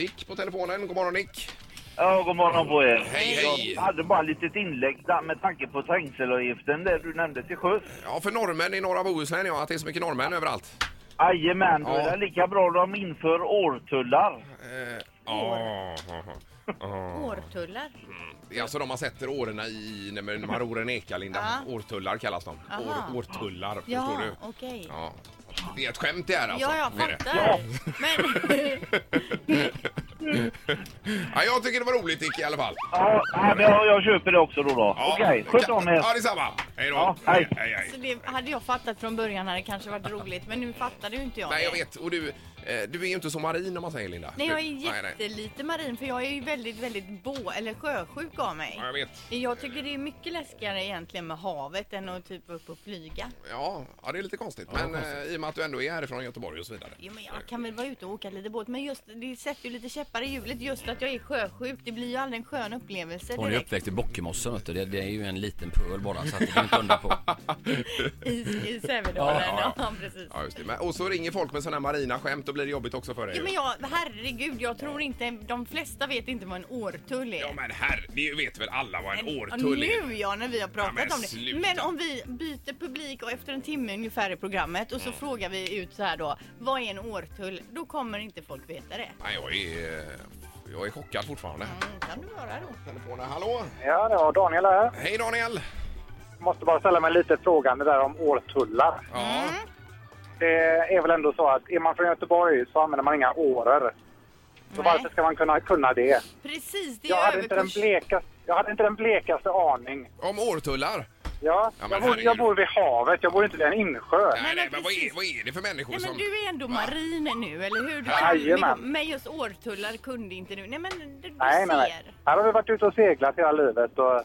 Nick på telefonen. God morgon Nick! Ja, god morgon på er. Hej, hej. Jag hade bara ett litet inlägg där med tanke på trängselavgiften där du nämnde till sjöss. Ja, för norrmän i norra Bohuslän ja, att det är så mycket norrmän överallt. Jajamän, då Ja. är det lika bra att de inför årtullar. Eh, ja, ja, ja. Årtullar. Det är alltså de man sätter åren i när man när man ror en eka, Linda. Ja. Årtullar kallas de. År, Aha. årtullar, förstår Ja, du? okej. Ja. Det är ett skämt det här alltså. Ja, jag Det är det. fattar. Men Ja, jag tycker det var roligt Dick i alla fall. Ja, nej, men jag, jag köper det också då. då. Ja. Okej, sköt om er. Ja, detsamma. Hej då. Ja, hej. hej, hej. så det hade jag fattat från början hade det kanske varit roligt. Men nu fattade ju inte jag Nej, jag det. vet. Och du, eh, du är ju inte så marin om man säger Linda. Nej, jag är Du- jättelite marin för jag är ju väldigt, väldigt bå eller sjösjuk av mig. Ja, jag vet. Jag tycker det är mycket läskigare egentligen med havet än att typ upp och flyga. Ja, ja, det är lite konstigt. men eh, i och med att du ändå är härifrån Göteborg och så vidare. Jo, men jag kan väl vara ute och åka lite båt, men just det sätter ju lite käppar i hjulet just att jag är sjösjuk. Det blir ju aldrig en skön upplevelse Hon är direkt. uppväxt i Bockemossen vet du. Det, det är ju en liten pöl bara så att det går inte undan på. I, i Sävedalen. Ja, ja, Ja, ja. precis. Ja, just det. Men, och så ringer folk med sådana här marina skämt, då blir det jobbigt också för dig. Jo, men jag, herregud, jag tror inte, de flesta vet inte vad en årtull är. Ja, men herre, det vet väl alla vad en Men- årtull är? ja, Nu ja, när vi har pratat Ja, men om det. sluta. Men om vi byter publik och efter en timme ungefär i programmet och så Mm. frågar vi ut så här då, vad är en årtull? Då kommer inte folk veta det. Nej, jag är, eh, jag är chockad fortfarande. Mm, kan du vara då? Telefonen, hallå? Ja, det var Daniel här. Hej Daniel! Måste bara ställa mig lite frågande där om årtullar. Ja, Mm. Det är väl ändå så att är man från Göteborg så använder man inga åror. Så Nej. varför ska man kunna kunna det? Precis, det Jag är hade, inte den överkurs. blekaste, jag hade inte den blekaste aning. om årtullar. Ja, Ja, men jag, bor, herregud. jag bor vid havet, jag bor inte vid en insjö. Nej, men nej, men vad är, precis. vad är det för människor Nej, men som... du är ändå marin nu, eller hur? Du Jajamän. men just årtullar kunde inte du. Nej, men du, du ser. Nej, nej, nej. Här har vi varit ute och seglat hela livet och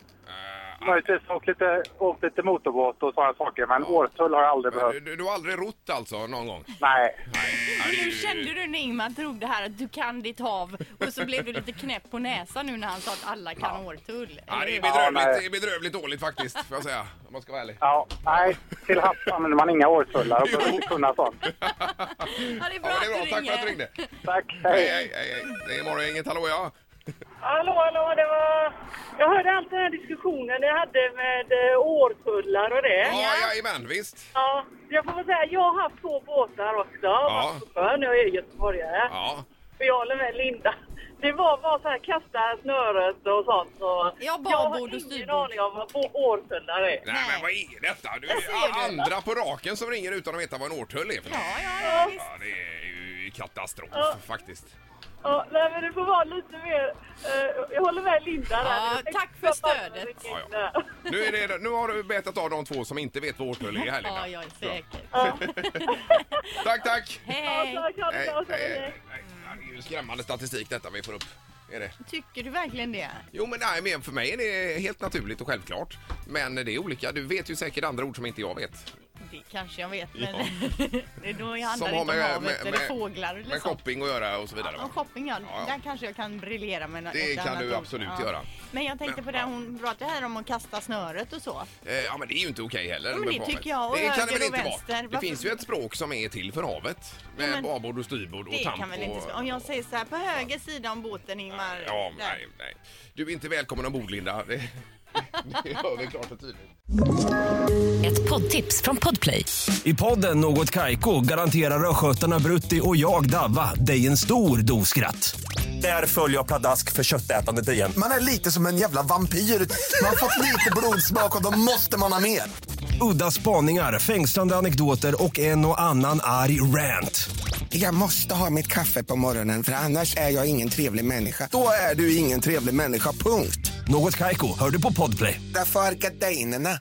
Eh, möjligtvis åkt lite, åkt lite motorbåt och sådana saker. Men årtull har jag aldrig ah, behövt. du, du har aldrig rott alltså någon gång? Nej. Ja, det är Men ju- nu kände du när Ingmar drog det här att du kan ditt hav och så blev du lite knäpp på näsan nu när han sa att alla kan årtull. Ja, det är Ja, bedrövligt, nej. det är bedrövligt dåligt faktiskt, får jag säga. Om man ska vara ärlig. Ja, nej. Till havs använder man inga årtullar och behöver inte kunna sånt. Ja, det är bra, Ja, men det är bra. Tack för att du ringde. Tack, Hej, hej. hej, hej. hej. Det är Morgongänget, hallå ja. Hallå, hallå, det var... Jag hörde allt den här diskussionen ni hade med eh, årtullar och det. Ja, jajamän, visst. Ja, jag får väl säga, jag har haft två båtar också. Ja. Sjön, jag är göteborgare. Ja. Och jag håller med Linda. Det var bara så här, kasta snöret och sånt. Och Ja, jag har babord och ingen styrbord. aning om vad å- årtullar är. Nej, Nej. men vad är detta? Du, Där ser du. andra på raken som ringer utan att veta vad en årtull är för något. Ja, ja, ja, visst. Ja, det är ju katastrof Ja. faktiskt. Ja, nej, men det får vara lite mer... eh, jag håller med Linda där. Ja, Jag tänkte tack för jag bara- stödet. Ja, Nu, är det, nu har du betat av de två som inte vet vad årtull är här Linda. Ja, jag är säker. Ja. Tack, tack! Ja, Hej! tack, ha det Hej, bra, så hej, länge. hej. Ja, Det är ju skrämmande statistik detta vi får upp. Är det? Tycker du verkligen det? Jo men nej, men för mig är det helt naturligt och självklart. Men det är olika. Du vet ju säkert andra ord som inte jag vet. Det kanske jag vet, men det då handlar Som det har inte om med- havet med- eller med- fåglar eller Med sånt. shopping att göra och så vidare. Om va? shopping, ja. Ja, ja. Där kanske jag kan briljera med något Det ett kan annat du ord. absolut göra. Men jag tänkte på det hon pratade här om att kasta snöret och så. Eh, Ja men det är ju inte okej heller. men med det havet. tycker jag, och Det kan höger det väl och inte vänster. vara. Det Varför- finns ju ett språk som är till för havet. Med men- babord och styrbord och Det tamp kan väl inte... och... Om jag säger så här, på höger sida om båten Ingmar. Ja, där. nej, nej. Du är inte välkommen ombord Linda. Det, det hör vi klart och tydligt. Ett poddtips från Podplay. I podden Något Kaiko garanterar östgötarna Brutti och jag, Davva, dig en stor dos skratt. Där följer jag pladask för köttätandet igen. Man är lite som en jävla vampyr. Man har fått lite blodsmak och då måste man ha mer. Udda spaningar, fängslande anekdoter och en och annan arg rant. Jag måste ha mitt kaffe på morgonen för annars är jag ingen trevlig människa. Då är du ingen trevlig människa, punkt. Något Kaiko, hör du på Podplay. Därför arkadeinerna.